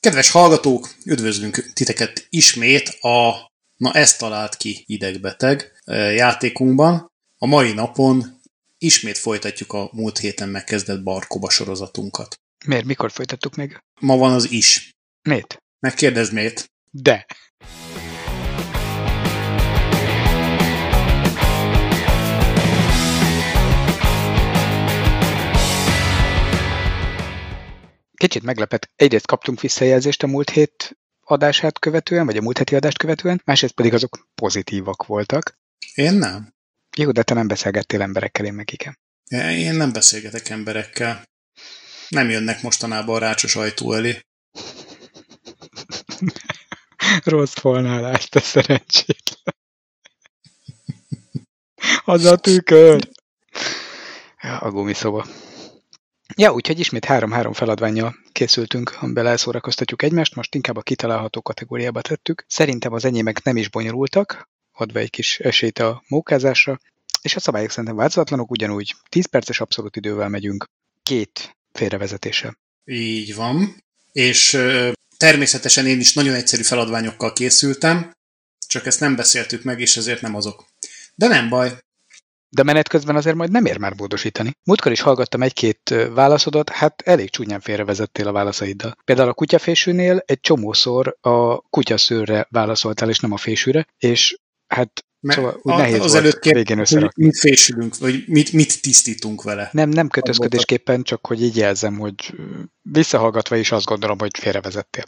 Kedves hallgatók, üdvözlünk titeket ismét a Na ezt talált ki idegbeteg e, játékunkban. A mai napon ismét folytatjuk a múlt héten megkezdett Barkoba sorozatunkat. Miért? Mikor folytattuk meg? Ma van az is. Miért? Megkérdezd miért? De. Kicsit meglepett. Egyrészt kaptunk visszajelzést a múlt hét adását követően, vagy a múlt heti adást követően, másrészt pedig azok pozitívak voltak. Én nem. Jó, de te nem beszélgettél emberekkel, én meg igen. Én nem beszélgetek emberekkel. Nem jönnek mostanában a rácsos ajtó elé. Rossz volnálást, te szerencsétlen. Az a tükör! Ja, a gumiszoba. Ja, úgyhogy ismét három-három feladványjal készültünk, amiben elszórakoztatjuk egymást, most inkább a kitalálható kategóriába tettük. Szerintem az enyémek nem is bonyolultak, adva egy kis esélyt a mókázásra, és a szabályok szerintem változatlanok, ugyanúgy 10 perces abszolút idővel megyünk, két félrevezetéssel. Így van. És ö, természetesen én is nagyon egyszerű feladványokkal készültem, csak ezt nem beszéltük meg, és ezért nem azok. De nem baj, De menet közben azért majd nem ér már módosítani. Múltkor is hallgattam egy-két ö, válaszodat, hát elég csúnyán félrevezettél a válaszaiddal. Például a kutyafésűnél egy csomószor a kutyaszőrre válaszoltál, és nem a fésűre, és hát Mert szóval úgy a- nehéz az volt előtt kérd- végén hogy összerakni. mit fésülünk, vagy mit, mit tisztítunk vele. Nem, nem kötözködésképpen, csak hogy így jelzem, hogy ö, visszahallgatva is azt gondolom, hogy félrevezettél.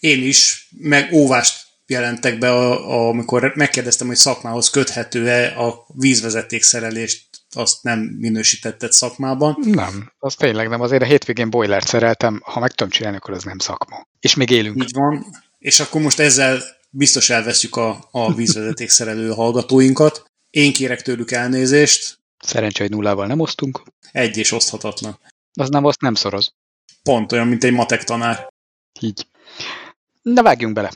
Én is, meg óvást jelentek be, a, a, amikor megkérdeztem, hogy szakmához köthető-e a vízvezeték szerelést, azt nem minősítetted szakmában. Nem, az tényleg nem. Azért a hétvégén bojlert szereltem, ha meg tudom csinálni, akkor az nem szakma. És még élünk. Így van. És akkor most ezzel biztos elveszük a, a vízvezeték szerelő hallgatóinkat. Én kérek tőlük elnézést, Szerencsé, hogy nullával nem osztunk. egy és oszthatatlan. Az nem, azt nem szoroz. Pont olyan, mint egy matek tanár. Így. Na vágjunk bele.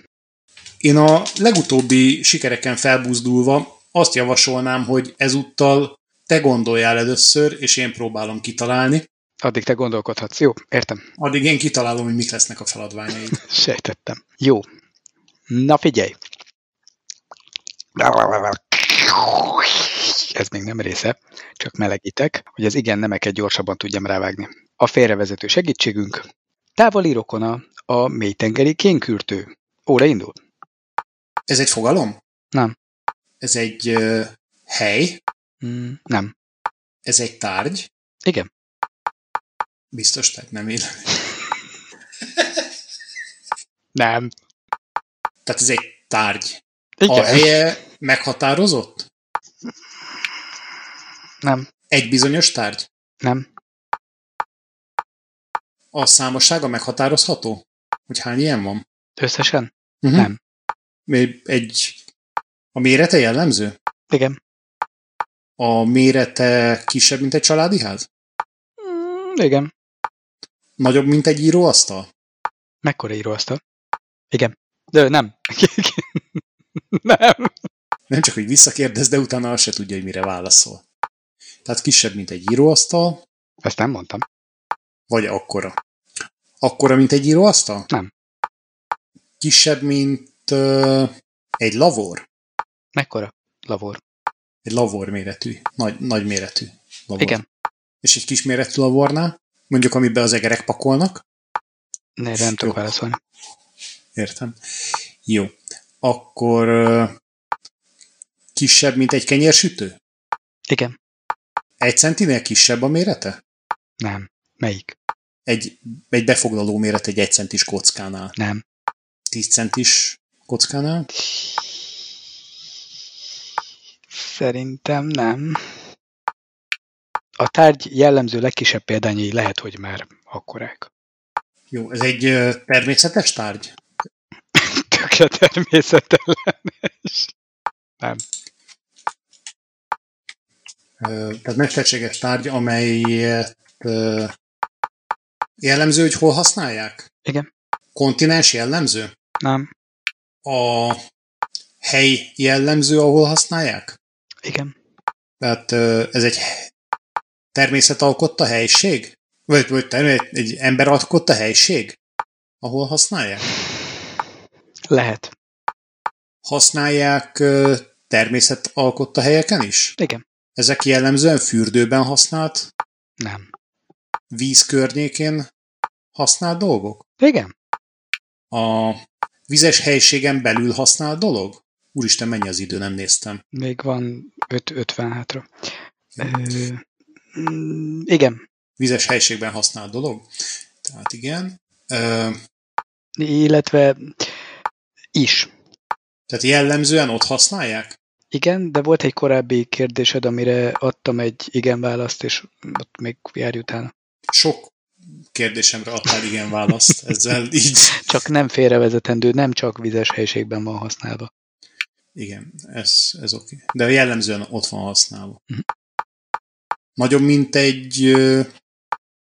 Én a legutóbbi sikereken felbuzdulva azt javasolnám, hogy ezúttal te gondoljál először, és én próbálom kitalálni. Addig te gondolkodhatsz. Jó, értem. Addig én kitalálom, hogy mik lesznek a feladványaid. Sejtettem. Jó. Na figyelj. Ez még nem része, csak melegítek, hogy az igen nemeket gyorsabban tudjam rávágni. A félrevezető segítségünk. Távoli rokona a mélytengeri kénkürtő. Óra indul. Ez egy fogalom? Nem. Ez egy uh, hely? Mm, nem. Ez egy tárgy? Igen. Biztos, tehát nem él. Nem. Tehát ez egy tárgy. Igen. A helye meghatározott? Nem. Egy bizonyos tárgy? Nem. A számossága meghatározható? Hogy hány ilyen van? Összesen? Uh-huh. Nem. Egy... A mérete jellemző? Igen. a mérete kisebb, mint egy családi ház? Mm, igen. Nagyobb, mint egy íróasztal? Mekkora íróasztal? Igen. De nem. nem. Nem csak, hogy visszakérdez, de utána azt se tudja, hogy mire válaszol. Tehát kisebb, mint egy íróasztal, Ezt nem mondtam. vagy akkora? Akkora, mint egy íróasztal? Nem. Kisebb, mint uh, egy lavor? Mekkora? Lavor. Egy lavor méretű, nagy, nagy méretű lavor. Igen. És egy kis méretű lavornál? Mondjuk, amiben az egerek pakolnak? Ne, de nem tudok Jó. válaszolni. Értem. Jó. Akkor uh, kisebb, mint egy kenyérsütő? Igen. Egy centinél kisebb a mérete? Nem. Melyik? Egy, egy befoglaló méret egy egy centis kockánál. Nem. 10 centis kockánál? Szerintem nem. A tárgy jellemző legkisebb példányai lehet, hogy már akkorák. Jó, ez egy ö, természetes tárgy? Tökre természetellenes. Ö, Tehát mesterséges tárgy, amelyet ö, jellemző, hogy hol használják? Igen. Kontinens jellemző? Nem. A hely jellemző, ahol használják? Igen. Tehát ö, ez egy természet alkotta helység? Vagy, vagy termé- egy ember alkotta helység? ahol használják? Lehet. Használják ö, természetalkotta helyeken is? Igen. Ezek jellemzően fürdőben használt, Nem. víz környékén használt dolgok? Igen. A vizes helységen belül használt dolog? Úristen, mennyi az idő, nem néztem. Még van 5 50 hátra. Ö, mm, igen. Vizes helységben használt dolog? Tehát igen. Ö, Illetve is. tehát jellemzően ott használják? Igen, de volt egy korábbi kérdésed, amire adtam egy igen választ, és ott még járj utána. Sok kérdésemre adtál igen választ ezzel így. Csak nem félrevezetendő, nem csak vizes helyiségben van használva. Igen, ez, ez oké. Okay. De jellemzően ott van használva. Mhm. Nagyon mint egy, ö,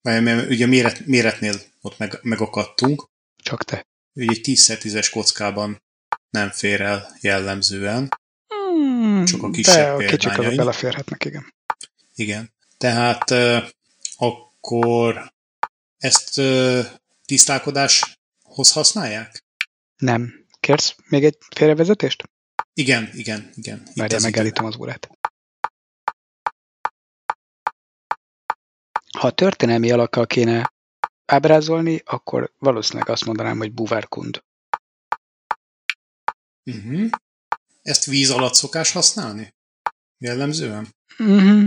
mert- mert ugye méret, méretnél ott meg, megakadtunk, Csak te. ugye egy 10x10-es kockában nem fér el jellemzően. Hmm, Csak a de kisebb a kicsik azok példányaim. beleférhetnek, igen. Igen. Tehát ö, akkor ezt ö, tisztálkodáshoz használják? Nem. Kérsz még egy félrevezetést? Igen, igen, igen. Itt Várjál, az megállítom az órát. Ha történelmi alakkal kéne ábrázolni, akkor valószínűleg azt mondanám, hogy buvárkund. idő. Uh-huh. Ezt víz alatt szokás használni? Jellemzően? Mm-hmm.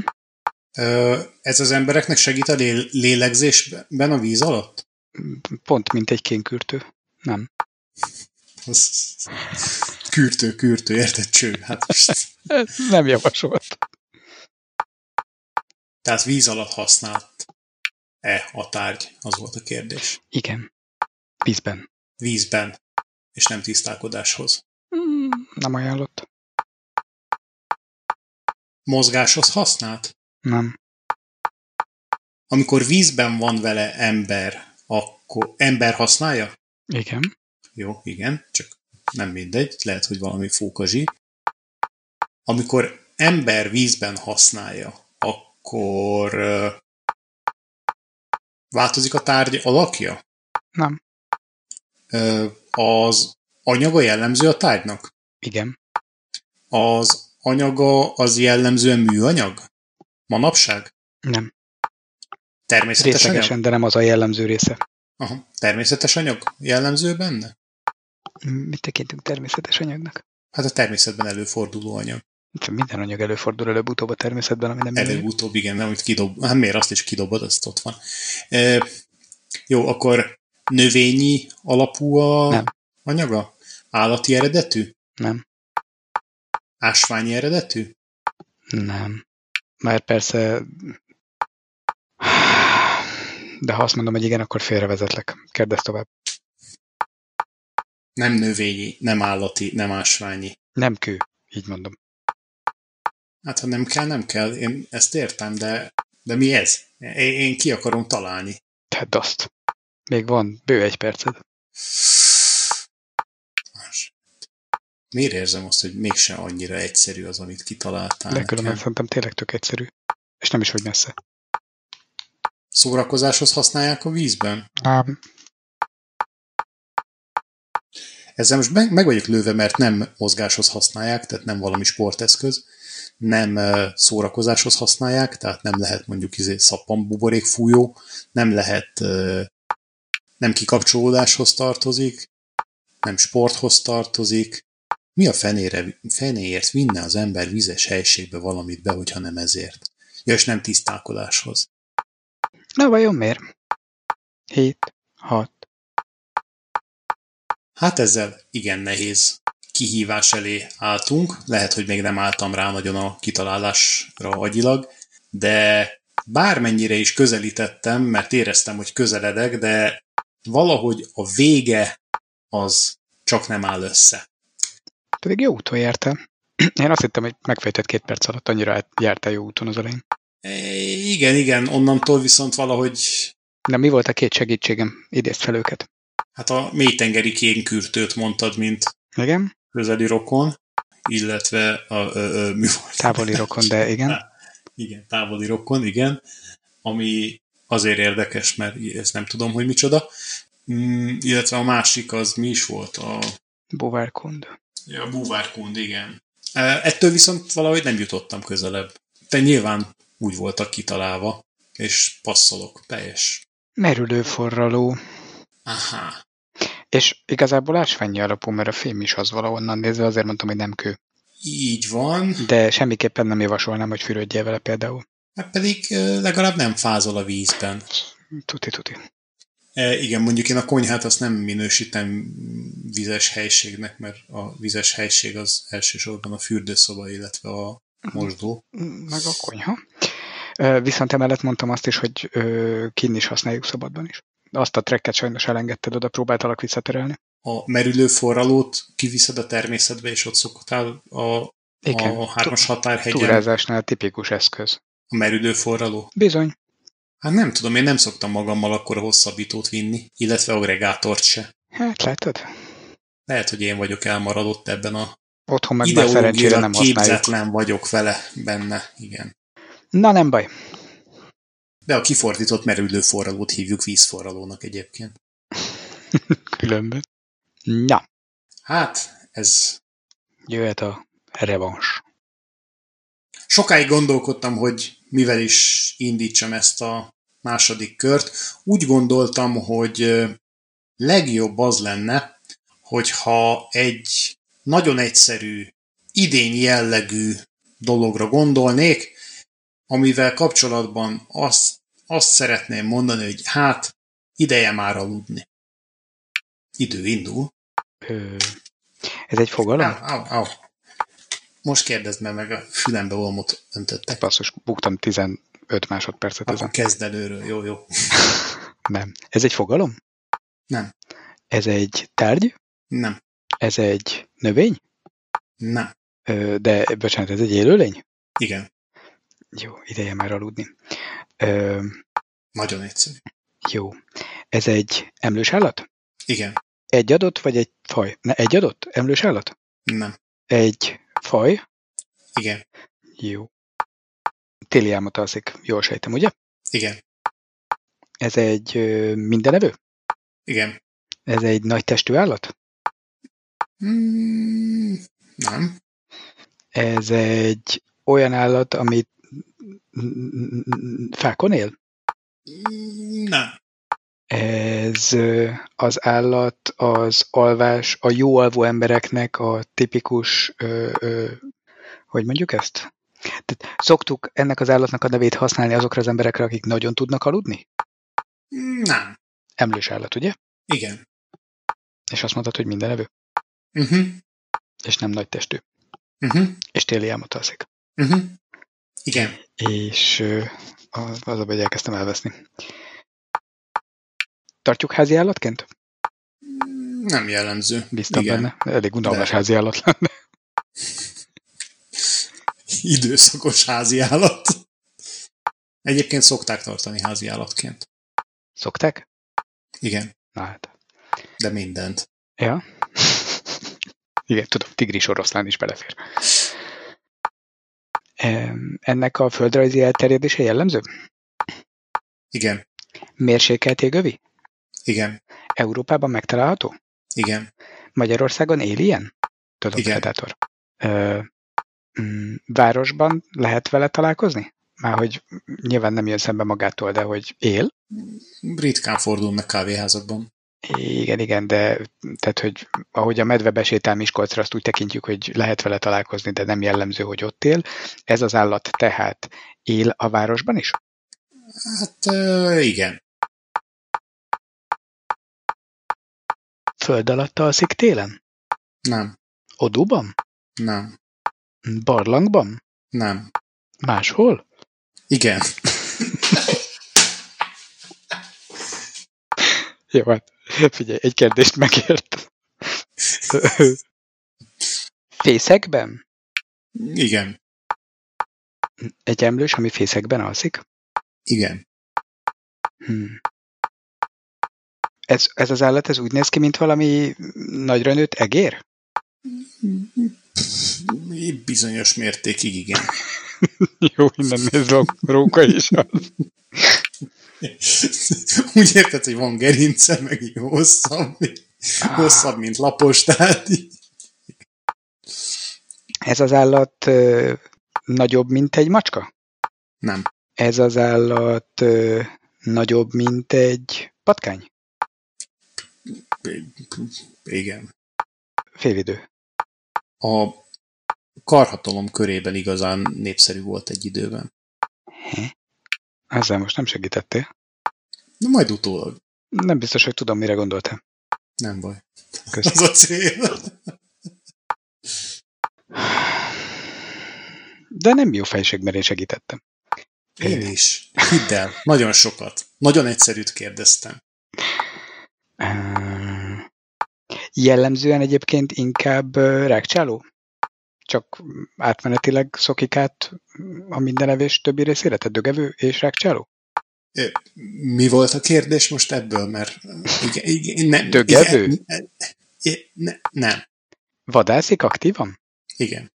Ö, ez az embereknek segít a lé- lélegzésben a víz alatt? Pont mint egy kénkürtő. Nem. Az kürtő, kürtő, érted cső. Hát, most. Nem javasolt. tehát víz alatt használt-e a tárgy? Az volt a kérdés. Igen. Vízben. Vízben, és nem tisztálkodáshoz. Mm, Nem ajánlott. Mozgáshoz használt? Nem. Amikor vízben van vele ember, akkor ember használja? Igen. Jó, igen, csak nem mindegy, lehet, hogy valami fókazsi. Amikor ember vízben használja, akkor ö, változik a tárgy alakja? Nem. Ö, Az anyaga jellemző a tárgynak? Igen. Az anyaga az jellemzően műanyag? Manapság? Nem. Természetes anyag? Részlegesen, de nem az a jellemző része. Aha. Természetes anyag jellemző benne? Mit tekintünk természetes anyagnak? Hát a természetben előforduló anyag. Minden anyag előfordul előbb-utóbb a természetben, ami nem műanyag. Előbb-utóbb, igen, nem, hogy kidob, hát miért azt is kidobod, azt ott van. E, jó, akkor növényi alapú a Nem. anyaga? Állati eredetű? Nem. Ásványi eredetű? Nem. Már persze... De ha azt mondom, hogy igen, akkor félrevezetlek. Kérdezz tovább. Nem növényi, nem állati, nem ásványi. Nem kő, így mondom. Hát ha nem kell, nem kell. Én ezt értem, de, de mi ez? Én, én ki akarom találni. Tehát azt. Még van bő egy perced. Más. Miért érzem azt, hogy mégsem annyira egyszerű az, amit kitaláltál? De különben nekem? szerintem tényleg tök egyszerű. És nem is vagy messze. Szórakozáshoz használják a vízben? Ám, Ezzel most meg, meg vagyok lőve, mert nem mozgáshoz használják, tehát nem valami sporteszköz, nem ö, szórakozáshoz használják, tehát nem lehet mondjuk izé szappanbuborék fújó, nem lehet, ö, nem kikapcsolódáshoz tartozik, nem sporthoz tartozik. Mi a fenére, fenéért vinne az ember vizes helységbe valamit be, hogyha nem ezért? Ja, és nem tisztálkodáshoz. na vajon miért? 7, 6, Hát ezzel igen nehéz kihívás elé álltunk. Lehet, hogy még nem álltam rá nagyon a kitalálásra agyilag, de bármennyire is közelítettem, mert éreztem, hogy közeledek, de valahogy a vége az csak nem áll össze. pedig jó úton jártál. Én azt hittem, hogy megfejtett két perc alatt, annyira át- jártál jó úton az elején. E, igen, igen, onnantól viszont valahogy De mi volt a két segítségem? Idézd fel őket. hát a mélytengeri kénkürtőt mondtad, mint Igen? közeli rokon, illetve a, a, a, mi volt? Távoli rokon, de igen. Igen, távoli rokon, igen, ami azért érdekes, mert ezt nem tudom, hogy micsoda. Mm, illetve a másik az mi is volt? A, Bovárkond. ja, a búvárkund, igen. E, Ettől viszont valahogy nem jutottam közelebb. De nyilván úgy voltak kitalálva, és passzolok, teljes. Merülő forraló. Aha. És igazából ásványi alapú, mert a film is az valahonnan nézve, azért mondtam, hogy nem kő. Így van. De semmiképpen nem javasolnám, hogy fürödjél vele például. Hát pedig ö, legalább nem fázol a vízben. Tuti-tuti. E, igen, mondjuk én a konyhát azt nem minősítem vizes helységnek, mert a vizes helység az elsősorban a fürdőszoba, illetve a mosdó. Meg a konyha. Ö, Viszont emellett mondtam azt is, hogy ö, kinn is használjuk szabadban is. Azt a trekket sajnos elengedted oda, próbáltalak visszaterelni. A merülő forralót kiviszed a természetbe, és ott szoktál a, Igen, a hármas határhegyen túrázásnál tipikus eszköz. a merülő forraló. Bizony. Hát nem tudom, én nem szoktam magammal akkor a hosszabbítót vinni, illetve agregátort se. Hát látod? Lehet, hogy én vagyok elmaradott ebben a Otthon meg már szerencsére ideológiailag nem használjuk. képzetlen vagyok vele benne, igen. Na nem baj. De a kifordított merülő forralót hívjuk vízforralónak egyébként. Különben. Na, Hát, ez... jöhet a revans. Sokáig gondolkodtam, hogy mivel is indítsam ezt a második kört. Úgy gondoltam, hogy ö, legjobb az lenne, hogyha egy nagyon egyszerű, idény jellegű dologra gondolnék, amivel kapcsolatban azt, azt szeretném mondani, hogy hát, ideje már aludni. Idő indul. Ö, Ez egy fogalom? Au, au, au. Most kérdezd meg, meg a fülembe olmot öntöttek. Basszus, buktam 15 másodpercet Akkor ezen. kezd előről, jó, jó. Nem. Ez egy fogalom? Nem. Ez egy tárgy? Nem, Ez egy növény? nem. Ö, De, bocsánat, ez egy élőlény? Igen, Jó, ideje már aludni. Ö, nagyon egyszerű. Jó. Ez egy emlős állat? Igen, Egy adott, vagy egy faj? Ne, egy adott? Emlős állat? nem, Egy faj? igen, Jó. Téli álmot alszik, jól sejtem, ugye? igen, Ez egy ö, mindenevő? igen. Ez egy nagy testű állat? Mm, nem, Ez egy olyan állat, ami fákon él? Mm, nem, Ez ö, az állat az alvás, a jó alvó embereknek a tipikus, ö, ö, hogy mondjuk ezt? Tehát szoktuk ennek az állatnak a nevét használni azokra az emberekre, akik nagyon tudnak aludni? Mm, nem, Emlős állat, ugye? igen. És azt mondtad, hogy mindenevő, Uh-huh. és nem nagy testű, Uh-huh. és téli álmot alszik. Uh-huh. Igen, És ö, az az a baj, hogy elkezdtem elveszni. Tartjuk házi állatként? Mm, nem jellemző. Bíztam Igen. benne. Elég unalmas házi állat lenne. Időszakos háziállat. Egyébként szokták tartani háziállatként. Szokták? Igen, Na hát. de mindent. Ja. Igen, tudom, tigris oroszlán is belefér. Em, Ennek a földrajzi elterjedése jellemző? Igen, Mérsékelt égövi? igen, Európában megtalálható? igen. Magyarországon él ilyen? Tudom, Igen. Predator. Ö, mm, városban lehet vele találkozni? Már hogy nyilván nem jön szembe magától, de hogy él? ritkán fordul meg kávéházakban. Igen, igen, de tehát, hogy ahogy a medve besétál Miskolcra, azt úgy tekintjük, hogy lehet vele találkozni, de nem jellemző, hogy ott él. Ez az állat tehát él a városban is? Hát ö, igen, Föld alatt alszik télen? nem, Odúban? nem, Barlangban? nem, Máshol? igen. Jó, hát figyelj, egy kérdést megért. Fészekben? Igen, Egy emlős, ami fészekben alszik? igen. Hmm. Ez, ez az állat, ez úgy néz ki, mint valami nagyra nőtt egér? Bizonyos mértékig igen. Jó, innen nézve a róka is az. Úgy érted, hogy van gerince, meg így hosszabb, hosszabb, mint lapos, tehát így. Ez az állat ö, nagyobb, mint egy macska? Nem. Ez az állat ö, nagyobb, mint egy patkány? Igen. Félidő. A karhatalom körében igazán népszerű volt egy időben. Ezzel most nem segítettél. Na majd utólag. Nem biztos, hogy tudom, mire gondoltam. Nem baj. Köszönöm. Az a cél. De nem jó fejség, mert én segítettem. Én is. Hidd el, nagyon sokat. Nagyon egyszerűt kérdeztem. Ö, Jellemzően egyébként inkább ö, rákcsáló? Csak átmenetileg szokik át a mindenevés többi részére? Tehát dögevő és rákcsáló? Ö, Mi volt a kérdés most ebből? Mert igen, igen, nem, Dögevő? Igen, igen, ne, nem, Vadászik aktívan? igen.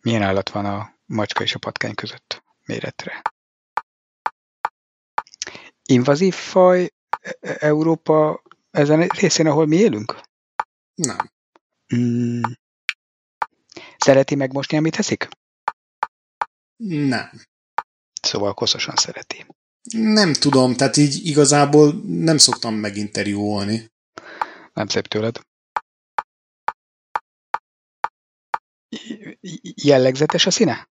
Milyen állat van a macska és a patkány között méretre? Invazív faj E- E- Európa ezen a részén, ahol mi élünk? Nem. Mm. Szereti megmosni, amit eszik? Nem. Szóval koszosan szereti. Nem tudom, tehát így igazából nem szoktam meginterjúolni. Nem szép tőled. J- j- Jellegzetes a színe?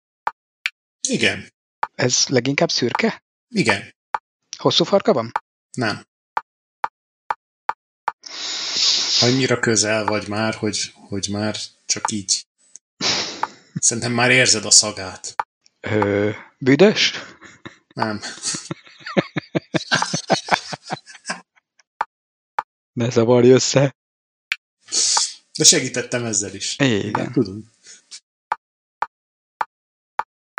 Igen, Ez leginkább szürke? igen, Hosszú farka van? nem. Annyira közel vagy már, hogy, hogy már csak így. Szerintem már érzed a szagát. Ö, büdös? Nem. Ne zavarj össze. De segítettem ezzel is. Igen. Tudom.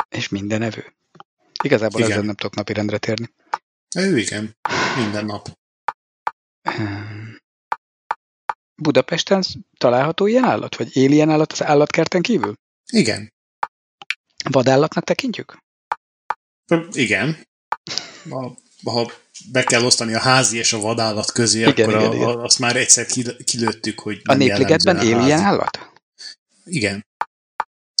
És minden evő. Igazából Igen. ezzel nem tudok napirendre térni. Ő igen, minden nap. Ehm. Budapesten sz- található ilyen állat? Vagy él ilyen állat az állatkerten kívül? Igen, Vadállatnak tekintjük? Ö, Hm, igen. Ha, ha be kell osztani a házi és a vadállat közé, Igen, akkor igen, a, igen. A, azt már egyszer kil- kilőttük, hogy A nem népligetben jellemzően hát. él ilyen házi. állat? Igen.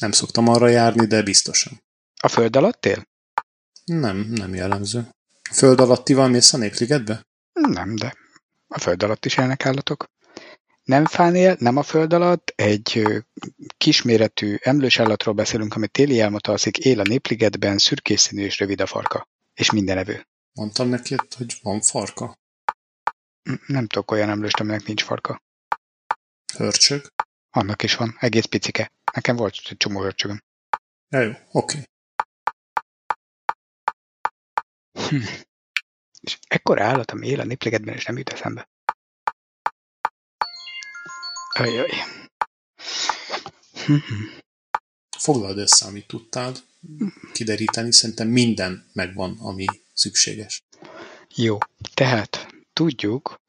Nem szoktam arra járni, de biztosan. A föld alatt él? Nem, nem jellemző. Föld alattival mész a népligetbe? Nem, de a föld alatt is élnek állatok. Nem fán él, nem a föld alatt, egy ö, kisméretű emlős állatról beszélünk, amit téli álmot alszik, él a népligetben, szürkés színű és rövid a farka. És minden evő. Mondtam neki, hogy van farka. N- Nem tudok olyan emlőst, aminek nincs farka. Hörcsög. Annak is van, egész picike. Nekem volt egy csomó hörcsögöm. Ja, jó, oké. És ekkora állat, ami él a népligetben, és nem jut eszembe. Ajaj. Hm, Foglald össze, amit tudtál kideríteni. Szerintem minden megvan, ami szükséges. Jó, tehát tudjuk,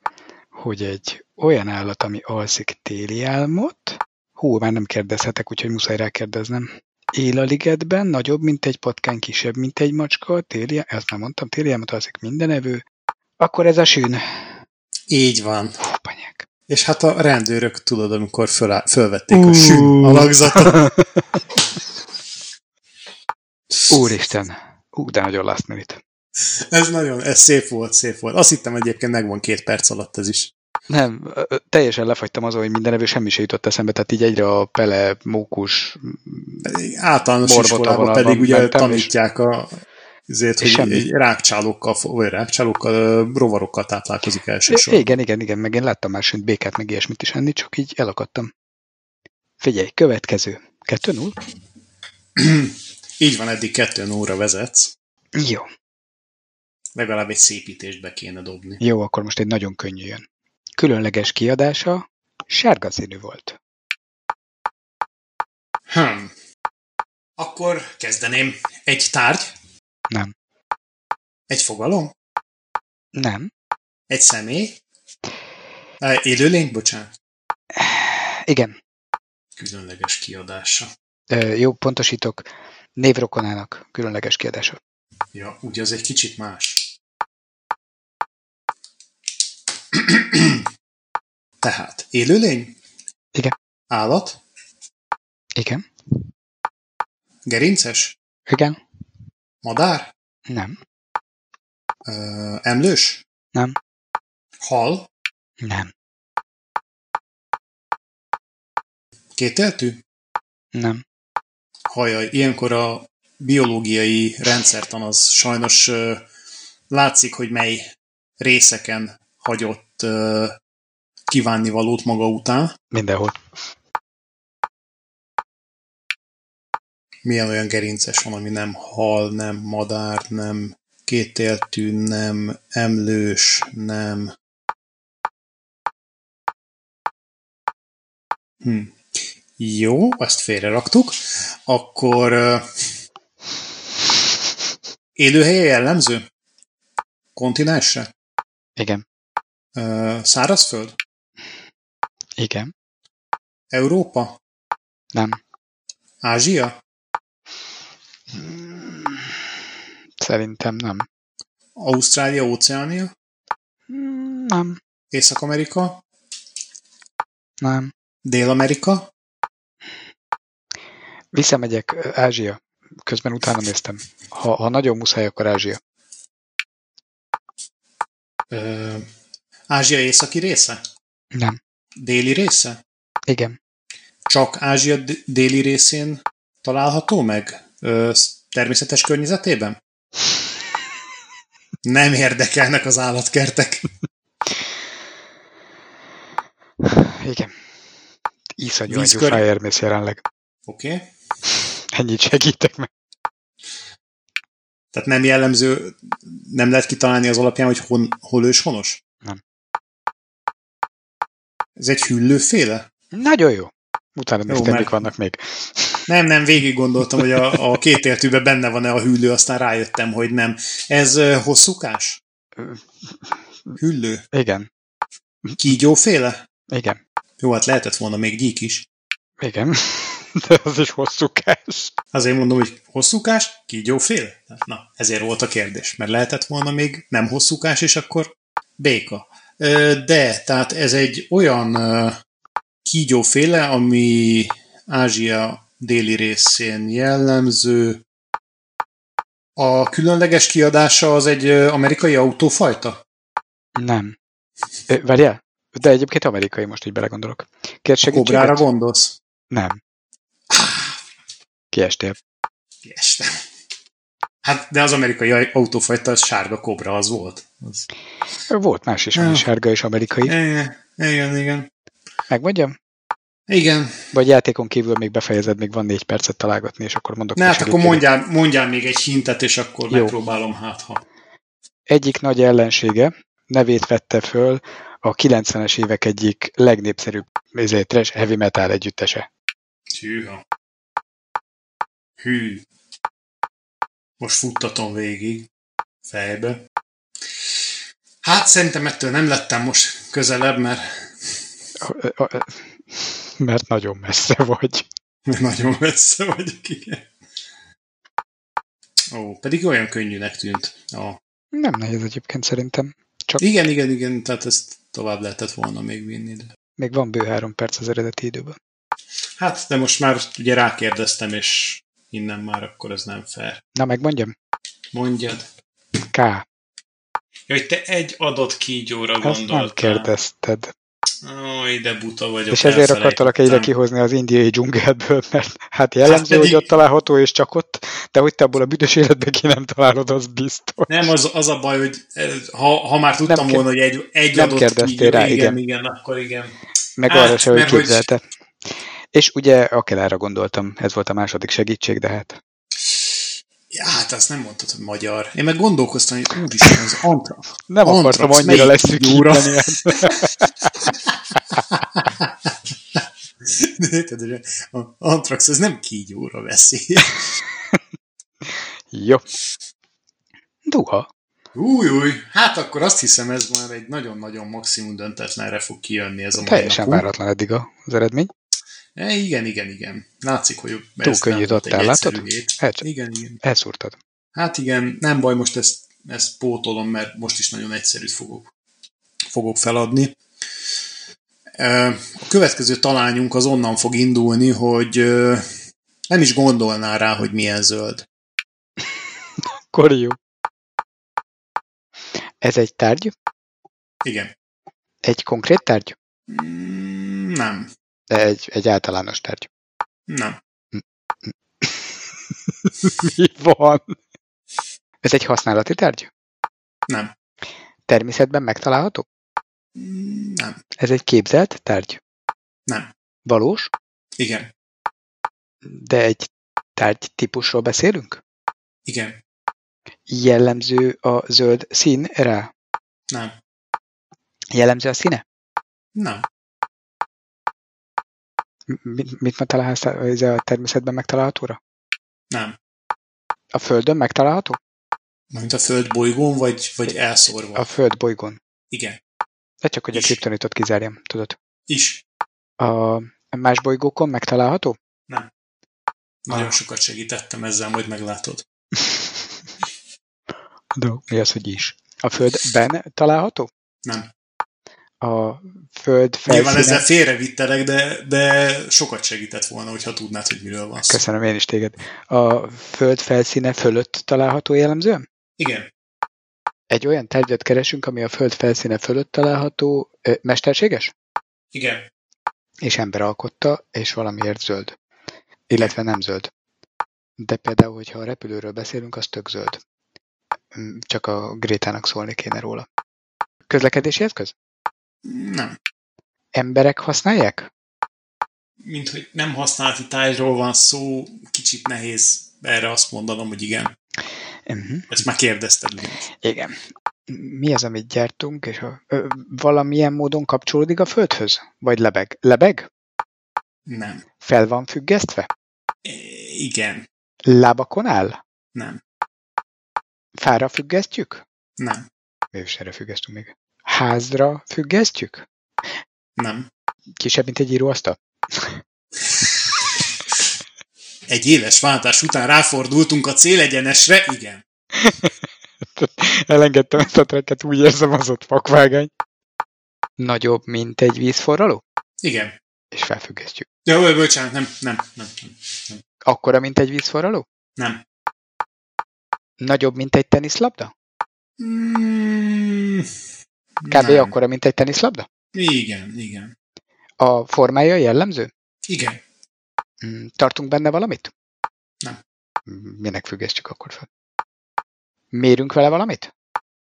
hogy egy olyan állat, ami alszik téli álmot, hú, már nem kérdezhetek, úgyhogy muszáj rákérdeznem. Él a ligetben, nagyobb, mint egy patkány, kisebb, mint egy macska, téli, ezt már mondtam, téli álmot alszik minden evő. Akkor ez a sűn. Így van. Hoppanyák. És hát a rendőrök, tudod, amikor föl, fölvették a sűn alakzatot. Úristen. Ú, de nagyon last minute. Ez nagyon, ez szép volt, szép volt. Azt hittem egyébként megvan két perc alatt ez is. Nem, ö, ö, teljesen lefagytam azon, hogy minden evő semmi se jutott eszembe, tehát így egyre a pele, mókus, Általános Borbota iskolában vonalban pedig ugye mentem, és- tanítják a azért, hogy és semmi. semmi. rákcsálókkal, fo- vagy rákcsálókkal, ö, rovarokkal táplálkozik elsősorban. Igen, igen, igen, meg én láttam már sőt békát, meg ilyesmit is enni, csak így elakadtam. Figyelj, következő. 2 0 Így van, eddig kettőn óra vezetsz. Jó. Legalább egy szépítést be kéne dobni. Jó, akkor most egy nagyon könnyű jön. Különleges kiadása sárga színű volt. Hm. Akkor kezdeném. Egy tárgy? Nem. Egy fogalom? Nem. Egy személy? Ö, Élőlény? Bocsánat. Igen. Különleges kiadása. Ö, jó, pontosítok. Névrokonának különleges kiadása. Ja, ugye az egy kicsit más. Tehát élőlény? Igen. Állat? Igen. Gerinces? Igen. Madár? Nem. Ö, emlős? Nem. Hal? Nem. Kételtű? Nem. Hajaj, ilyenkor a biológiai rendszertan az sajnos ö, látszik, hogy mely részeken hagyott ö, kívánni valót maga után. Mindenhol. Milyen olyan gerinces van, ami nem hal, nem madár, nem kétéltű, nem emlős, nem... Hm. Jó, ezt félreraktuk. Akkor ö, élőhelye jellemző? Kontinensre? Igen. Ö, Szárazföld? Igen. Európa? Nem. Ázsia? Mm, Szerintem nem. Ausztrália, Óceánia? Mm, Nem. Észak-Amerika? Nem. Dél-Amerika? Visszamegyek ö, Ázsia. Közben utána néztem. Ha, ha nagyon muszáj, akkor Ázsia. Ö, Ázsia északi része? Nem. Déli része? Igen. Csak Ázsia d- déli részén található meg? Ö, sz- természetes környezetében? Nem érdekelnek az állatkertek. Igen. Iszonyú egy Vízkör- Hermész jelenleg. Oké. Okay. Ennyit segítek meg. Tehát nem jellemző, nem lehet kitalálni az alapján, hogy hon, hol ős honos? Nem. Ez egy hüllőféle? Nagyon jó. Utána néztem, mert- mik vannak még. Nem, nem, végig gondoltam, hogy a, a két értűben benne van-e a hüllő, aztán rájöttem, hogy nem. Ez ö, hosszúkás? Hüllő? Igen. Kígyóféle? Igen. Jó, hát lehetett volna még gyík is. Igen. De az is hosszúkás. Azért mondom, hogy hosszúkás, kígyóféle? Na, ezért volt a kérdés, mert lehetett volna még nem hosszúkás, és akkor béka. Ö, De, tehát ez egy olyan ö, kígyóféle, ami Ázsia déli részén jellemző. A különleges kiadása az egy ö, amerikai autófajta? Nem. Ö, Várjál? De egyébként amerikai most így belegondolok. Kér A segítséget? kobrára gondolsz? Nem. Kiestél. Ilyestem. Hát, de az amerikai autófajta az sárga kobra az volt. Az. Volt más is, Ja. ami sárga és amerikai. Igen, E, igen, igen. Megmondjam? Igen, Vagy játékon kívül még befejezed, még van négy percet találgatni, és akkor mondok. Ne, ki hát akkor segítséget. mondjál, mondjál még egy hintet, és akkor Jó. Jó. megpróbálom, hát ha. Egyik nagy ellensége nevét vette föl a 90-es évek egyik legnépszerűbb izé, trash heavy metal együttese. Hűha. Hű. Most futtatom végig. Fejbe. Hát szerintem ettől nem lettem most közelebb, mert Ö, ö, ö, Mert nagyon messze vagy. mert nagyon messze vagyok, igen. Ó, pedig olyan könnyűnek tűnt. A... Nem nehéz egyébként szerintem. Igen, igen, igen, tehát ezt tovább lehetett volna még vinni. De... Még van bő három perc az eredeti időben. Hát, de most már ugye rákérdeztem, és innen már akkor ez nem fair. Na, megmondjam? Mondjad. K. Ja, hogy te egy adott kígyóra Ezt nem gondoltál. kérdezted. Ó, ide buta vagyok. És ezért elfelejtettem. akartalak egyre kihozni az indiai dzsungelből, mert hát jellemző, Hát pedig- hogy ott található és csak ott, de hogy te abból a büdös életben ki nem találod, az biztos. Nem, az, az a baj, hogy ez- ha, ha már tudtam Nem nem kér- volna, hogy egy, egy nem adott kérdeztél kígyó, rá, igen, igen. igen, igen, akkor igen. Meg Hát, arra se, hogy mert hogy- képzelte. És ugye Akelára gondoltam, ez volt a második segítség, de hát Ja, hát azt nem mondtad, hogy magyar. Én meg gondolkoztam, hogy úristen, az antra. nem Antrax, akartam annyira melyik leszűkíteni. kígyóra? ezt. Tudod, a Antrax az nem kígyóra veszi. Jó. Duha. Új, új, hát akkor azt hiszem, ez már egy nagyon-nagyon maximum döntetlenre fog kijönni ez a mai Teljesen napunk. váratlan eddig a- az eredmény. E, igen, igen, igen. Látszik, hogy Túl ez nem könnyű volt egy adottál, látod? egyszerű hét. Hát, Igen, igen. elszúrtad. Hát igen, nem baj, most ezt, ezt pótolom, mert most is nagyon egyszerűt fogok, fogok feladni. A következő talányunk az onnan fog indulni, hogy nem is gondolná rá, hogy milyen zöld. Akkor jó. Ez egy tárgy? Igen. Egy konkrét tárgy? Mm, Nem, De egy, egy általános tárgy. nem. Mi van? Ez egy használati tárgy? Nem. Természetben megtalálható? Mm, Nem, Ez egy képzelt tárgy? Nem. Valós? igen, De egy tárgy típusról beszélünk? igen, Jellemző a zöld szín rá? nem, Jellemző a színe? nem, M- Mit, mit megtalálhatsz ez a természetben megtalálhatóra? nem. A Földön megtalálható? Mint a Föld bolygón, vagy, vagy elszórva. A Föld bolygón. Igen, De csak, hogy a Is. kriptonitot kizárjam, tudod. is. A más bolygókon megtalálható? Nagyon Ah. sokat segítettem ezzel, majd meglátod. De mi az, hogy is? A Földben található? Nem. A Föld Nyilván ezzel felszínen... félrevittelek, de, de sokat segített volna, hogyha tudnád, hogy miről van szó. Köszönöm én is téged. A Föld felszíne fölött található jellemzően? Igen, Egy olyan tárgyat keresünk, ami a Föld felszíne fölött található, ö, mesterséges, igen, és ember alkotta, és valamiért zöld. Illetve nem zöld. De például, hogyha a repülőről beszélünk, az tök zöld. Mm, Csak a Grétának szólni kéne róla. Közlekedési eszköz? nem. Emberek használják? Mint hogy nem használati tájról van szó, kicsit nehéz erre azt mondanom, hogy igen. Uh-huh. Ezt már kérdezted. ugyanis. Igen. Mi az, amit gyártunk, és a, ö, valamilyen módon kapcsolódik a Földhöz? Vagy lebeg? Lebeg? Nem. Fel van függesztve? É, Igen, Lábakon áll? nem, Fára függesztjük? nem, Mi is erre függesztünk még. Házra függesztjük? nem. Kisebb, mint egy íróasztal? Egy éves váltás után ráfordultunk a célegyenesre, igen. Elengedtem ezt a trekket, úgy érzem, az ott vakvágány. Nagyobb, mint egy vízforraló? Igen. És felfüggesztjük. Ja, ö, bocsánat, nem, nem, nem, nem, Akkora, mint egy vízforraló? nem. Nagyobb, mint egy teniszlabda? Mm, Kb. nem. akkora, mint egy teniszlabda? Igen, igen. A formája jellemző? Igen, Mm, Tartunk benne valamit? Nem. M- Minek függesztjük akkor fel? Mérünk vele valamit?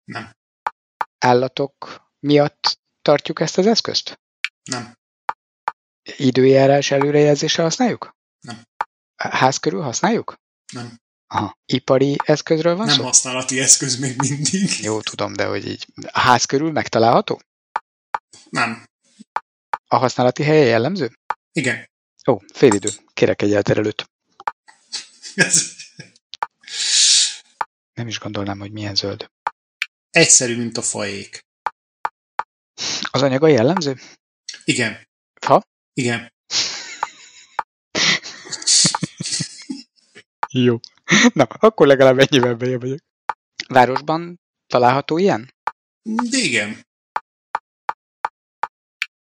Nem. Állatok miatt tartjuk ezt az eszközt? nem, Időjárás előrejelzésre használjuk? Nem. Ház körül használjuk? Nem. Aha. Ipari eszközről van nem szó? használati eszköz még mindig. Jó, tudom, de hogy így. A ház körül megtalálható? Nem. A használati helye jellemző? Igen. Ó, félidő. Kérek egy elterelőt. Ez Nem is gondolnám, hogy milyen zöld. egyszerű, mint a faék. Az anyaga jellemző? Igen. Fa? Igen. Jó. Na, akkor legalább ennyivel bejebb vagyok. Városban található ilyen? De igen.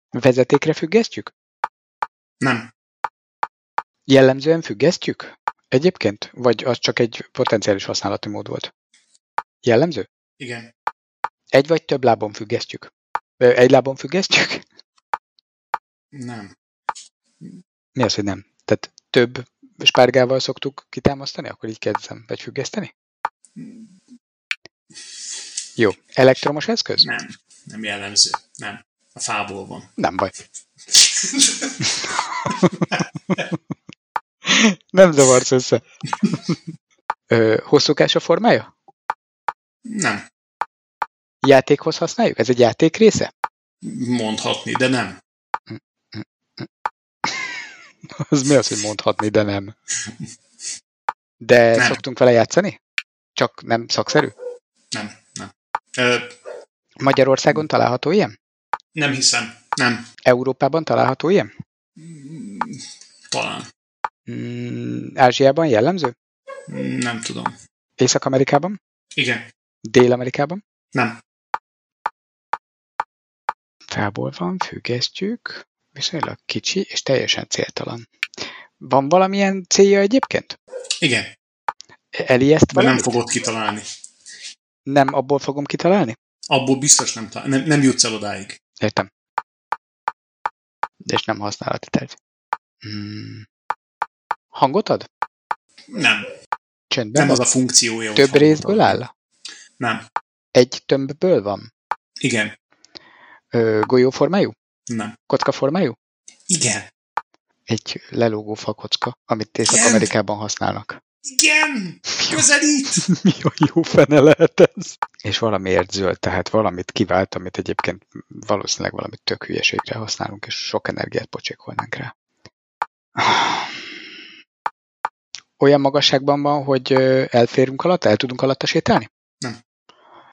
Vezetékre függesztjük? Nem. Jellemzően függesztjük? Egyébként? Vagy az csak egy potenciális használati mód volt? Jellemző? Igen. Egy vagy több lábon függesztjük? Ö, Egy lábon függesztjük? Nem. Mi az, hogy nem? Tehát több spárgával szoktuk kitámasztani? Akkor így kérdezem. Vagy függeszteni? Jó. Elektromos eszköz? Nem. Nem jellemző. Nem. A fából van. Nem baj. Nem zavarsz össze. Ö, hosszúkás a formája? nem. Játékhoz használjuk? Ez egy játék része? Mondhatni, de nem. Az mi az, hogy mondhatni, de nem. De Nem. nem. szoktunk vele játszani? Csak nem szakszerű? Nem. Nem. Ö, Magyarországon található ilyen? nem hiszem. Nem. Európában található ilyen? Mm, Talán. Mm, Ázsiában jellemző? Nem tudom. Észak-Amerikában? Igen. Dél-Amerikában? Nem. Fából van, fűkesztyűk, viszonylag kicsi és teljesen céltalan. Van valamilyen célja egyébként? Igen, Elieszt de nem valamit? fogod kitalálni. nem abból fogom kitalálni? Abból biztos nem, talál- nem, nem jutsz el odáig. Értem. És nem használati terv. Hmm. Hangot ad? Nem, Csöndben nem az nem ad? a funkciója. hogy Több hangot részből ad. áll? Nem, Egy tömbből van? igen, Ö, golyóformájú? nem. Kockaformájú? Igen, Egy lelógó fakocka, amit Igen. Észak-Amerikában használnak. igen, közelít! Mi a jó fene lehet ez? És valamiért zöld, tehát valamit kivált, amit egyébként valószínűleg valami tök hülyeségre használunk, és sok energiát pocsékolnánk rá. Olyan magasságban van, hogy ö, elférünk alatta, el tudunk alatta sétálni? Nem.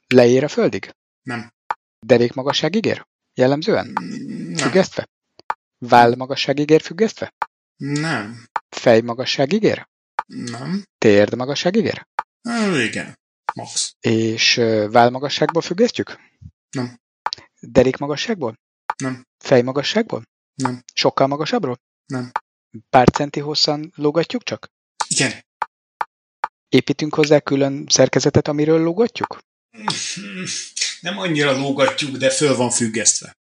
Leér a földig? Nem. Derék magasságig ér? Jellemzően? Nem, Függesztve? Váll magasságig ér függesztve? nem, Fej magasságig ér? nem. Térd magasságig ér? Ö, igen, max. És ö, válmagasságból függesztjük? Nem. Derék magasságból? Nem. Fej magasságból? Nem. Sokkal magasabbról? Nem. Pár centi hosszan lógatjuk csak? Igen. Építünk hozzá külön szerkezetet, amiről lógatjuk? Nem annyira lógatjuk, de föl van függesztve.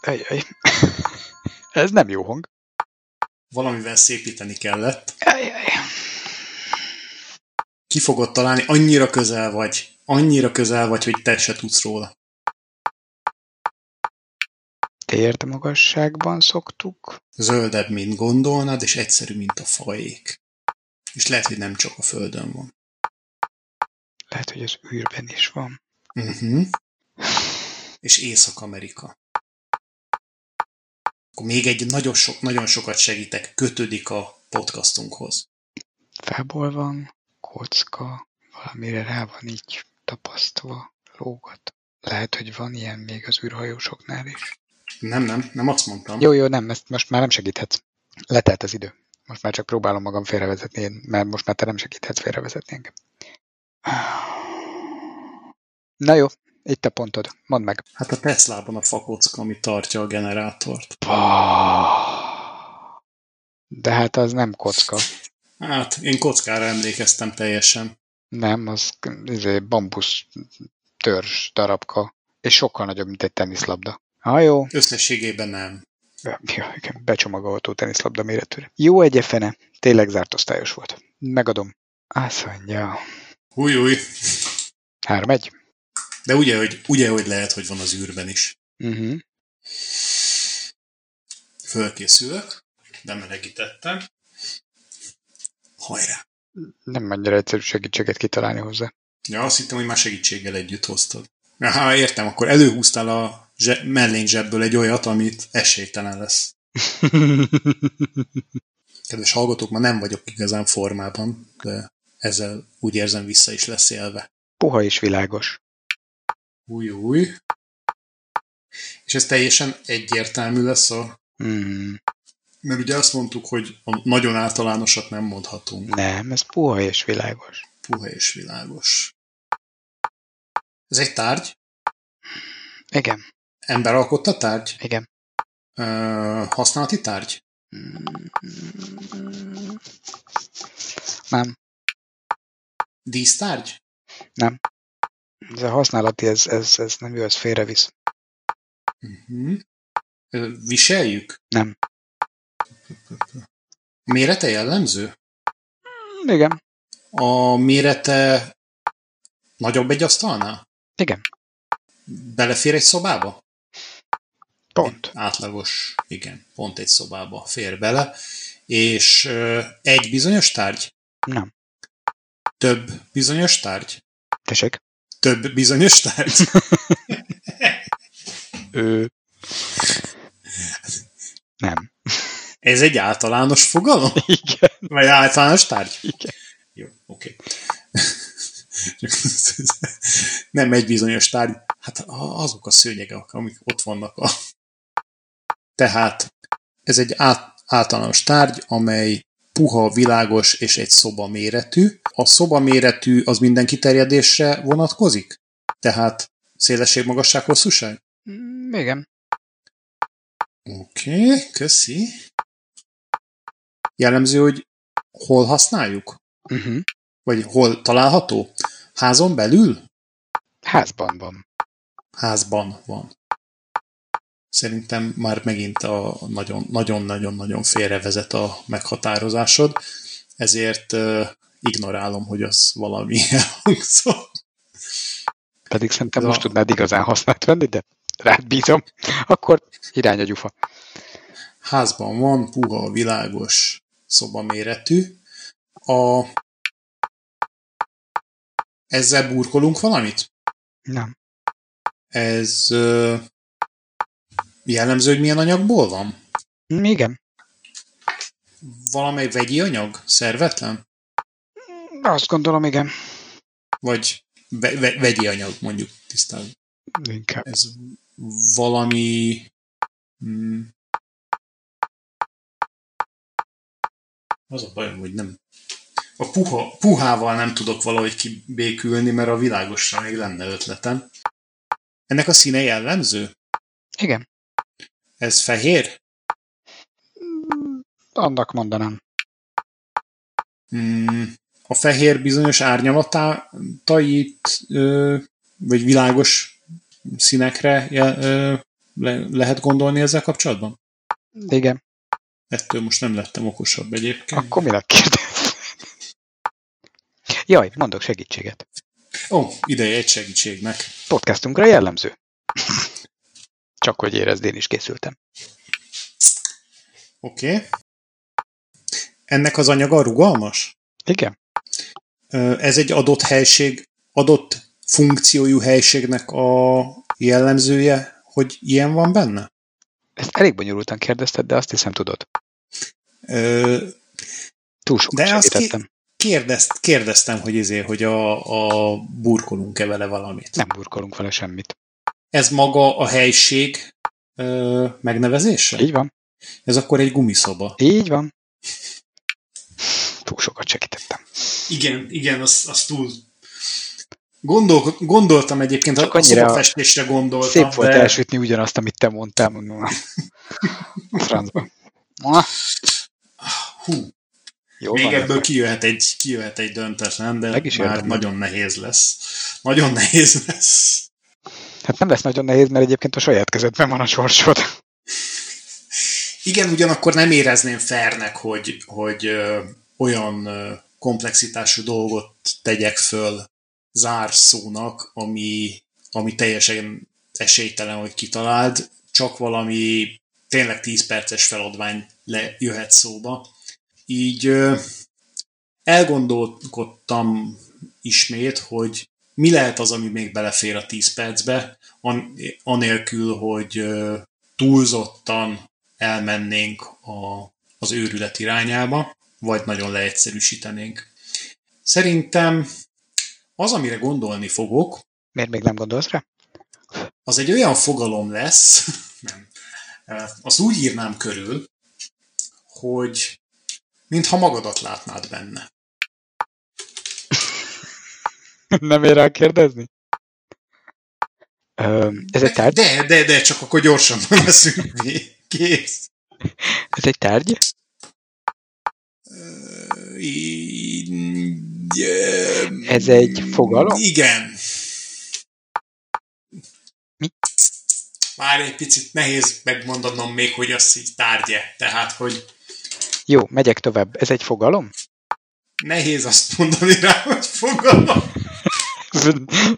Ajaj. Ez nem jó hang. Valamivel szépíteni kellett. Ajaj. Ki fogod találni, annyira közel vagy. Annyira közel vagy, hogy te se tudsz róla. Térd magasságban szoktuk. Zöldebb, mint gondolnád, és egyszerű, mint a fajék. És lehet, hogy nem csak a Földön van. Lehet, hogy az űrben is van. Uh-huh. És Észak-Amerika. Akkor még egy nagyon, so- nagyon sokat segítek, kötődik a podcastunkhoz. Fából van, kocka, valamire rá van így tapasztva, lógat. Lehet, hogy van ilyen még az űrhajósoknál is. Nem, nem, nem azt mondtam. Jó, jó, nem, ezt most már nem segíthetsz. Letelt az idő. Most már csak próbálom magam félrevezetni, én- mert most már te nem segíthetsz félrevezetni engem. Na jó, itt a pontod. Mondd meg. Hát a Teslában a fakocka, ami tartja a generátort. De hát az nem kocka. Hát, én kockára emlékeztem teljesen. Nem, az izé, bambusz törzs darabka. És sokkal nagyobb, mint egy teniszlabda. Ha jó, Összességében nem. Ja, igen, becsomagolható teniszlabda méretűre. Jó egyefene, E, tényleg zárt osztályos volt. Megadom. Azt mondja, Új, új. 3-1. De ugye, hogy, ugye, hogy lehet, hogy van az űrben is. Uh-huh. Fölkészülök, de melegítettem. Hajrá! Nem annyira egyszerű segítséget kitalálni hozzá. Ja, azt hittem, hogy már segítséggel együtt hoztad. Aha, értem, akkor előhúztál a zse- mellény zsebből egy olyat, amit esélytelen lesz. Kedves hallgatók, ma nem vagyok igazán formában, de ezzel úgy érzem vissza is lesz élve. Puha és világos. Új, új. És ez teljesen egyértelmű lesz, a, Mm, mert ugye azt mondtuk, hogy a nagyon általánosat nem mondhatunk. nem, ez puha és világos. Puha és világos. Ez egy tárgy? Igen, Ember alkotta tárgy? igen. Ö, használati tárgy? Mhm. Mm, nem, Dísztárgy? ez a használati, ez, ez, ez nem jó, ez félrevisz. Uh-huh. Viseljük? Nem. Mérete jellemző? Mm, Igen, A mérete nagyobb egy asztalnál? igen, Belefér egy szobába? pont. Átlagos, igen, pont egy szobába fér bele. És ö, egy bizonyos tárgy? Nem. Több bizonyos tárgy? Tessék? Több bizonyos tárgy? Ő... Nem. Ez egy általános fogalom? Igen. Vagy általános tárgy? Igen. Jó, oké. Csak Nem egy bizonyos tárgy. Hát a- azok a szőnyegek, amik ott vannak. A... Tehát ez egy át, általános tárgy, amely puha, világos és egy szoba méretű. A szoba méretű az minden kiterjedésre vonatkozik? Tehát szélesség, magasság, hosszúság? Mm, igen. Oké, okay, köszi. Jellemző, hogy hol használjuk? Uh-huh. Vagy hol található? Házon belül? Házban van. Házban van. Szerintem már megint a nagyon-nagyon-nagyon félrevezet a meghatározásod, ezért uh, ignorálom, hogy az valami elhangzott. Pedig szerintem most tudnád igazán használt venni, de rád bízom. Akkor irány a gyufa. Házban van, puha, világos szobaméretű. A... Ezzel burkolunk valamit? Nem. Ez ö, jellemző, hogy milyen anyagból van? Mm, Igen. Valamely vegyi anyag? Szervetlen? Azt gondolom, igen. Vagy ve- ve- vegyi anyag, mondjuk tisztán. Inkább. Ez valami... Mm, az a bajom, hogy nem... A puha, puhával nem tudok valahogy kibékülni, mert a világosra még lenne ötletem. Ennek a színe jellemző? Igen. Ez fehér? Mm, Annak mondanám. Mm, a fehér bizonyos árnyalatait, ö, vagy világos színekre je- ö, le- lehet gondolni ezzel kapcsolatban? Igen. Ettől most nem lettem okosabb egyébként. Akkor minek kérdez? Jaj, mondok segítséget. Ó, oh, ideje egy segítségnek. Podcastunkra jellemző. Csak hogy érezd, én is készültem. Oké. Okay. Ennek az anyaga rugalmas? Igen. Ö, Ez egy adott helység, adott funkciójú helységnek a jellemzője, hogy ilyen van benne? Ezt elég bonyolultan kérdezted, de azt hiszem tudod. Ö, Túl sokat De azt ki- segítettem. Kérdezt, kérdeztem, hogy izé, hogy a, a burkolunk-e vele valamit. Nem burkolunk vele semmit. Ez maga a helység ö, megnevezése? Így van. Ez akkor egy gumiszoba. Így van. Túl sokat segítettem. Igen, igen, az, az túl... Gondol, gondoltam egyébként, Csak a, a annyira szobafestésre gondoltam. Szép volt de- elsütni ugyanazt, amit te mondtál. Mondom, a francba. Na, Hú, jó Még van. ebből kijöhet egy, kijöhet egy döntetlen, de Meg is már érdemli. nagyon nehéz lesz. Nagyon nehéz lesz. Hát nem lesz nagyon nehéz, mert egyébként a saját kezedben van a sorsod. Igen, ugyanakkor nem érezném fernek, hogy, hogy ö, olyan ö, komplexitású dolgot tegyek föl zárszónak, ami, ami teljesen esélytelen, hogy kitaláld, csak valami tényleg 10 perces feladvány le, jöhet szóba. Így ö, elgondolkodtam ismét, hogy mi lehet az, ami még belefér a 10 percbe, an- anélkül, hogy ö, túlzottan elmennénk a, az őrület irányába, vagy nagyon leegyszerűsítenénk. Szerintem az, amire gondolni fogok, Miért még nem gondolsz rá? az egy olyan fogalom lesz, nem, az úgy írnám körül, hogy mintha magadat látnád benne. Nem ér rá kérdezni? Ö, ez egy tárgy? De, de, de, csak akkor gyorsabban leszünk mi. Kész. Ez egy tárgy? Ö, így, ö, Ez egy fogalom? Igen. Mi? Már egy picit nehéz megmondanom még, hogy az így tárgye. Tehát, hogy Jó, megyek tovább. Ez egy fogalom? nehéz azt mondani rá, hogy fogalom.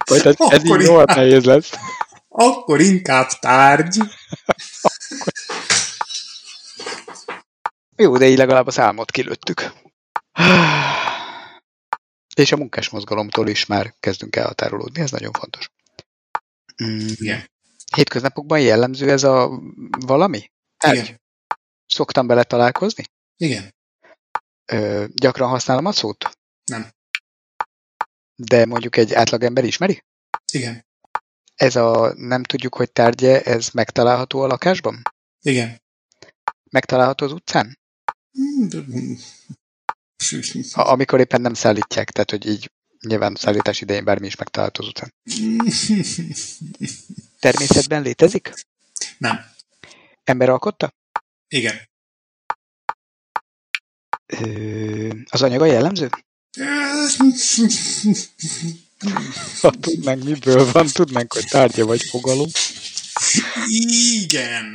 Vagy ez, ez Akkor így rohadt nehéz lesz. Akkor inkább tárgy. Jó, de így legalább az álmot kilőttük. És a munkás mozgalomtól is már kezdünk elhatárolódni, ez nagyon fontos. Mm. Igen. Hétköznapokban jellemző ez a valami? Igen. Szoktam bele találkozni? Igen. Ö, gyakran használom a szót? Nem. De mondjuk egy átlagember ismeri? Igen. Ez a nem tudjuk, hogy tárgye, ez megtalálható a lakásban? Igen. Megtalálható az utcán? Mm, de- mm. A- amikor éppen nem szállítják, tehát hogy így Nyilván szállítás idején bármi is megtalálható az után. Természetben létezik? Nem. Ember alkotta? Igen. Ö, az anyaga jellemző? Ha tudnánk, miből van, tudnánk, hogy tárgya vagy fogalom. Igen.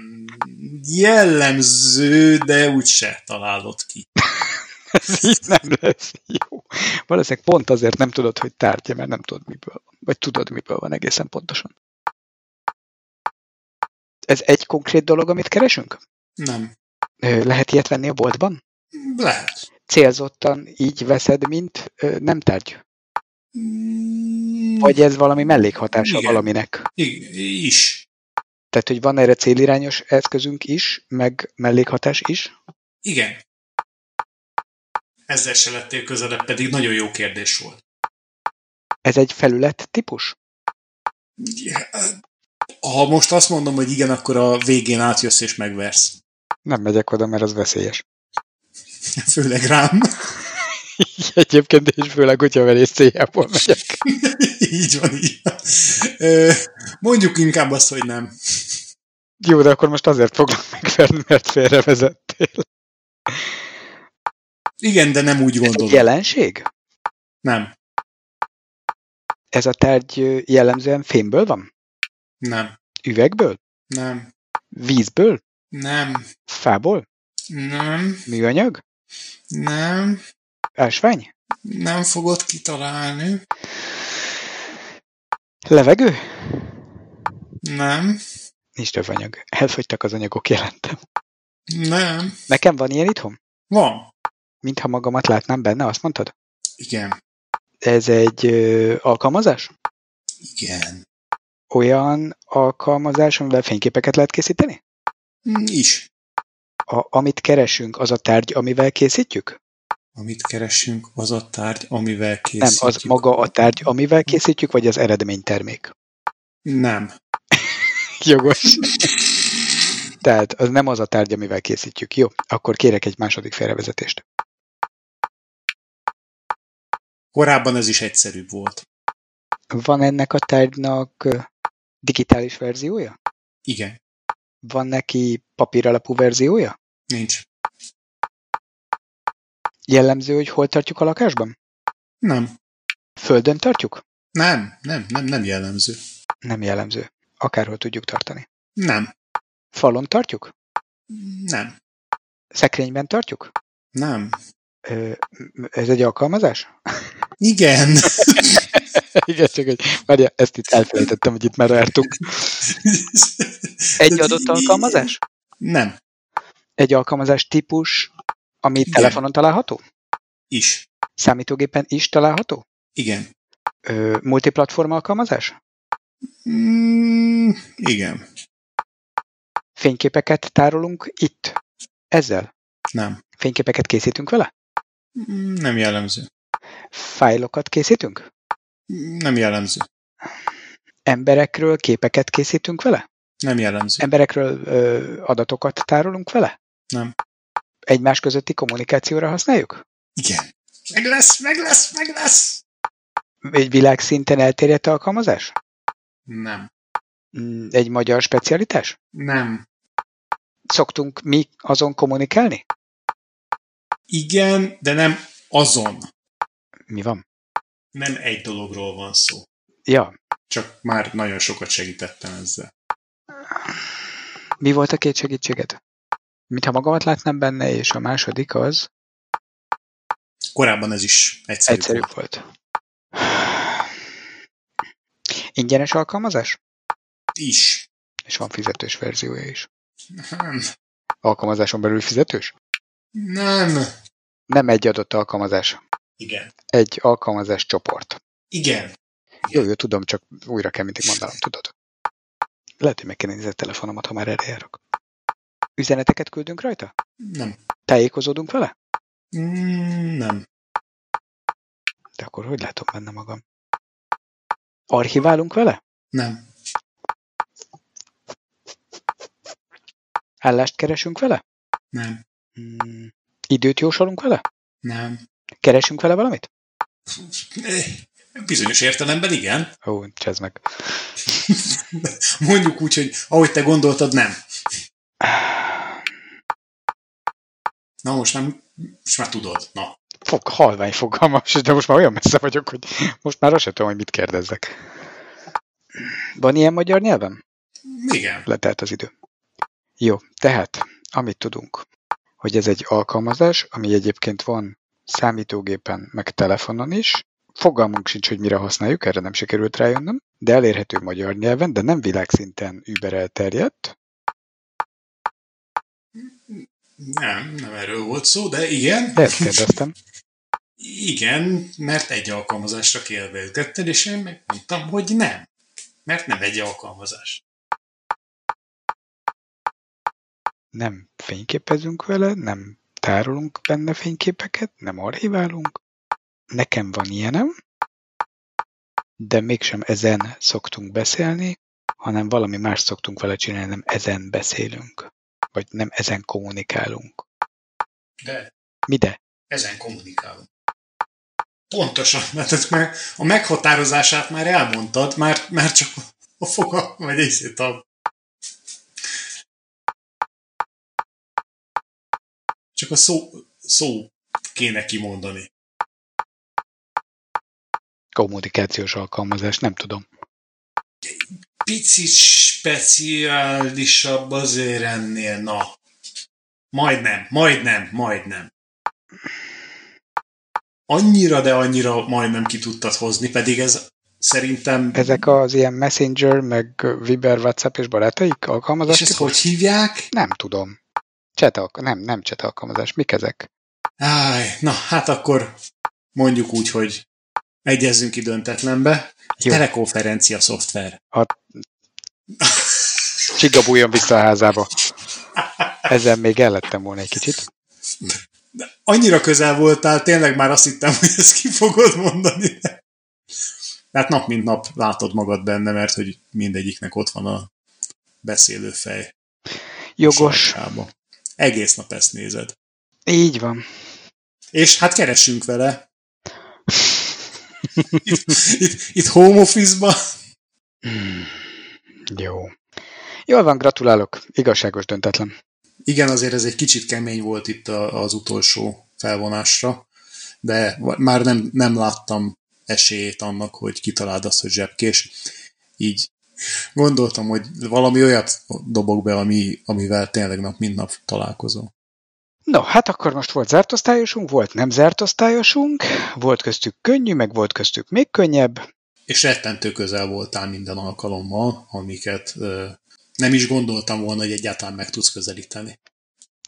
Jellemző, de úgyse találod ki. Ez így nem lesz jó. Valószínűleg pont azért nem tudod, hogy tárgya, mert nem tudod, miből van. Vagy tudod, miből van egészen pontosan. Ez egy konkrét dolog, amit keresünk? Nem. Ö, lehet ilyet venni a boltban? Lehet. Célzottan így veszed, mint ö, nem tárgy? Mm, Vagy ez valami mellékhatása Igen. valaminek? I- is. Tehát, hogy van erre célirányos eszközünk is, meg mellékhatás is. Igen. Ezzel se lettél közelebb, pedig nagyon jó kérdés volt. Ez egy felület típus? Ha most azt mondom, hogy igen, akkor a végén átjössz és megversz. Nem megyek oda, mert az veszélyes. Főleg rám. Egyébként, és főleg, hogyha verés céljából megyek. így van, így van. Ö, Mondjuk inkább azt, hogy nem. Jó, de akkor most azért foglak megverni, mert félrevezettél. Igen, de nem úgy Ez egy gondolom. jelenség? Nem, Ez a tárgy ö, jellemzően fémből van? nem, Üvegből? nem, Vízből? nem, Fából? nem, Műanyag? nem, Ásvány? nem fogod kitalálni. Levegő? Nem, Nincs több anyag. Elfogytak az anyagok, jelentem. nem. Nekem van ilyen itthon? Van. Mintha magamat látnám benne, azt mondtad? Igen, Ez egy ö, alkalmazás? igen. Olyan alkalmazás, amivel fényképeket lehet készíteni? Mm, Is. A, amit keresünk, az a tárgy, amivel készítjük? Amit keresünk, az a tárgy, amivel Nem, készítjük. az maga a tárgy, amivel készítjük, vagy az eredménytermék? Nem. Jogos. Tehát az nem az a tárgy, amivel készítjük. Jó, akkor kérek egy második félrevezetést. Korábban ez is egyszerűbb volt. Van ennek a tárgynak ö, digitális verziója? Igen, Van neki papíralapú verziója? nincs. Jellemző, hogy hol tartjuk a lakásban? Nem, Földön tartjuk? nem, nem, nem, nem jellemző. Nem jellemző. Akárhol tudjuk tartani. Nem, Falon tartjuk? nem, Szekrényben tartjuk? nem. Ö, m- ez egy alkalmazás? Igen, Igen, csak egy... Várja, ezt itt elfelejtettem, hogy itt már jártunk. Egy adott alkalmazás? nem, Egy alkalmazás típus, ami Igen. telefonon található? is. Számítógépen is található? Igen. Ö, multiplatform alkalmazás? Mm, igen, Fényképeket tárolunk itt? Ezzel? nem. Fényképeket készítünk vele? Mm, Nem jellemző. Fájlokat készítünk? Mm, Nem jellemző. Emberekről képeket készítünk vele? Nem jellemző. Emberekről ö, adatokat tárolunk vele? Nem. Egymás közötti kommunikációra használjuk? Igen. Meg lesz, meg lesz, meg lesz! Egy világszinten elterjedt alkalmazás? Nem, Mm, Egy magyar specialitás? nem. Szoktunk mi azon kommunikálni? Igen, de nem azon. Mi van? Nem egy dologról van szó. Ja. Csak már nagyon sokat segítettem ezzel. Mi volt a két segítséged? Mintha magamat látnám benne, és a második az Korábban ez is egyszerű. egyszerűbb volt. Ingyenes alkalmazás? Is. És van fizetős verziója is. Nem. Alkalmazáson belül fizetős? Nem. Nem egy adott alkalmazás. Igen. Egy alkalmazás csoport. Igen. Jó, jó, tudom, csak újra kell mindig mondanom, tudod. Lehet, hogy meg kell nézni a telefonomat, ha már erre járok. Üzeneteket küldünk rajta? Nem. Tájékozódunk vele? Mm, Nem. De akkor hogy látom benne magam? Archiválunk vele? Nem. Állást keresünk vele? Nem. Mm, időt jósolunk vele? Nem. Keresünk vele valamit? Eh, Bizonyos értelemben igen. Ó, csezd meg. Mondjuk úgy, hogy ahogy te gondoltad, nem. Na most nem, most már tudod. Na. Fog, halvány fogalmam, sincs, de most már olyan messze vagyok, hogy most már azt sem tudom, hogy mit kérdezzek. Van ilyen magyar nyelven? Igen. Letelt az idő. Jó, tehát, amit tudunk, hogy ez egy alkalmazás, ami egyébként van számítógépen, meg telefonon is. Fogalmunk sincs, hogy mire használjuk, erre nem sikerült rájönnöm, de elérhető magyar nyelven, de nem világszinten über elterjedt. Nem, nem erről volt szó, de igen. De ezt kérdeztem. Igen, mert egy alkalmazásra kérdezgetted, és én megmondtam, hogy nem. Mert nem egy alkalmazás. Nem fényképezünk vele, nem tárolunk benne fényképeket, nem archiválunk. Nekem van ilyenem, de mégsem ezen szoktunk beszélni, hanem valami más szoktunk vele csinálni, nem ezen beszélünk, vagy nem ezen kommunikálunk. De Mi de? ezen kommunikálunk. Pontosan, mert ez már a meghatározását már elmondtad, már, már csak a foga, vagy észét a... Csak a szó, szó kéne kimondani. Kommunikációs alkalmazás, nem tudom. Picit speciálisabb azért ennél, na. Majdnem, majdnem, majdnem. Annyira, de annyira majdnem ki tudtad hozni, pedig ez szerintem... Ezek az ilyen Messenger, meg Viber, WhatsApp és barátaik alkalmazás? és ezt hogy hívják? Nem tudom. Chat alk- nem, nem chat alkalmazás. Mik ezek? Áj, na hát akkor mondjuk úgy, hogy egyezzünk ki döntetlenbe. Jó. Telekonferencia szoftver. Csiga bújjon vissza a házába. Ezzel még ellettem volna egy kicsit. Annyira közel voltál, tényleg már azt hittem, hogy ezt ki fogod mondani. Tehát nap mint nap látod magad benne, mert hogy mindegyiknek ott van a beszélő fej. Jogos. sarkába. Egész nap ezt nézed. Így van. És hát keresünk vele. Itt, itt, itt home office-ban. Hmm. Jó. Jól van, gratulálok. Igazságos döntetlen. Igen, azért ez egy kicsit kemény volt itt a- az utolsó felvonásra, de va- már nem, nem láttam esélyét annak, hogy kitaláld azt, hogy zsebkés. Így gondoltam, hogy valami olyat dobok be, ami, amivel tényleg nap mint nap találkozom. No, hát akkor most volt zárt osztályosunk, volt nem zárt osztályosunk, volt köztük könnyű, meg volt köztük még könnyebb. És rettentő közel voltál minden alkalommal, amiket ö, nem is gondoltam volna, hogy egyáltalán meg tudsz közelíteni.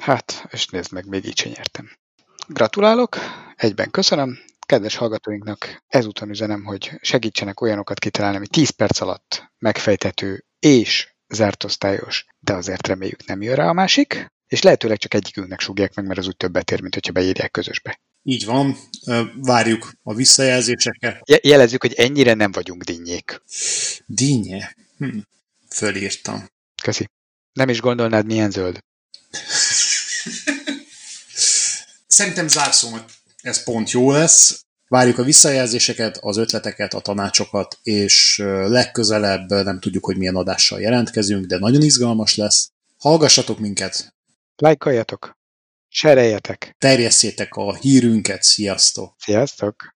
Hát, és nézd meg, még így se nyertem. Gratulálok, egyben köszönöm. Kedves hallgatóinknak ezúton üzenem, hogy segítsenek olyanokat kitalálni, ami 10 perc alatt megfejthető és zárt osztályos, de azért reméljük nem jön rá a másik, és lehetőleg csak egyikünknek súgják meg, mert az úgy többet ér, mint hogyha beírják közösbe. Így van, ö, várjuk a visszajelzéseket. Je- jelezzük, hogy ennyire nem vagyunk dinnyék. Dínye. Hm. Fölírtam. Köszi. Nem is gondolnád, milyen zöld. Szerintem zárszónak ez pont jó lesz. Várjuk a visszajelzéseket, az ötleteket, a tanácsokat, és ö, legközelebb ö, nem tudjuk, hogy milyen adással jelentkezünk, de nagyon izgalmas lesz. Hallgassatok minket, Lájkoljatok, sereljetek, terjesszétek a hírünket, sziasztok! sziasztok!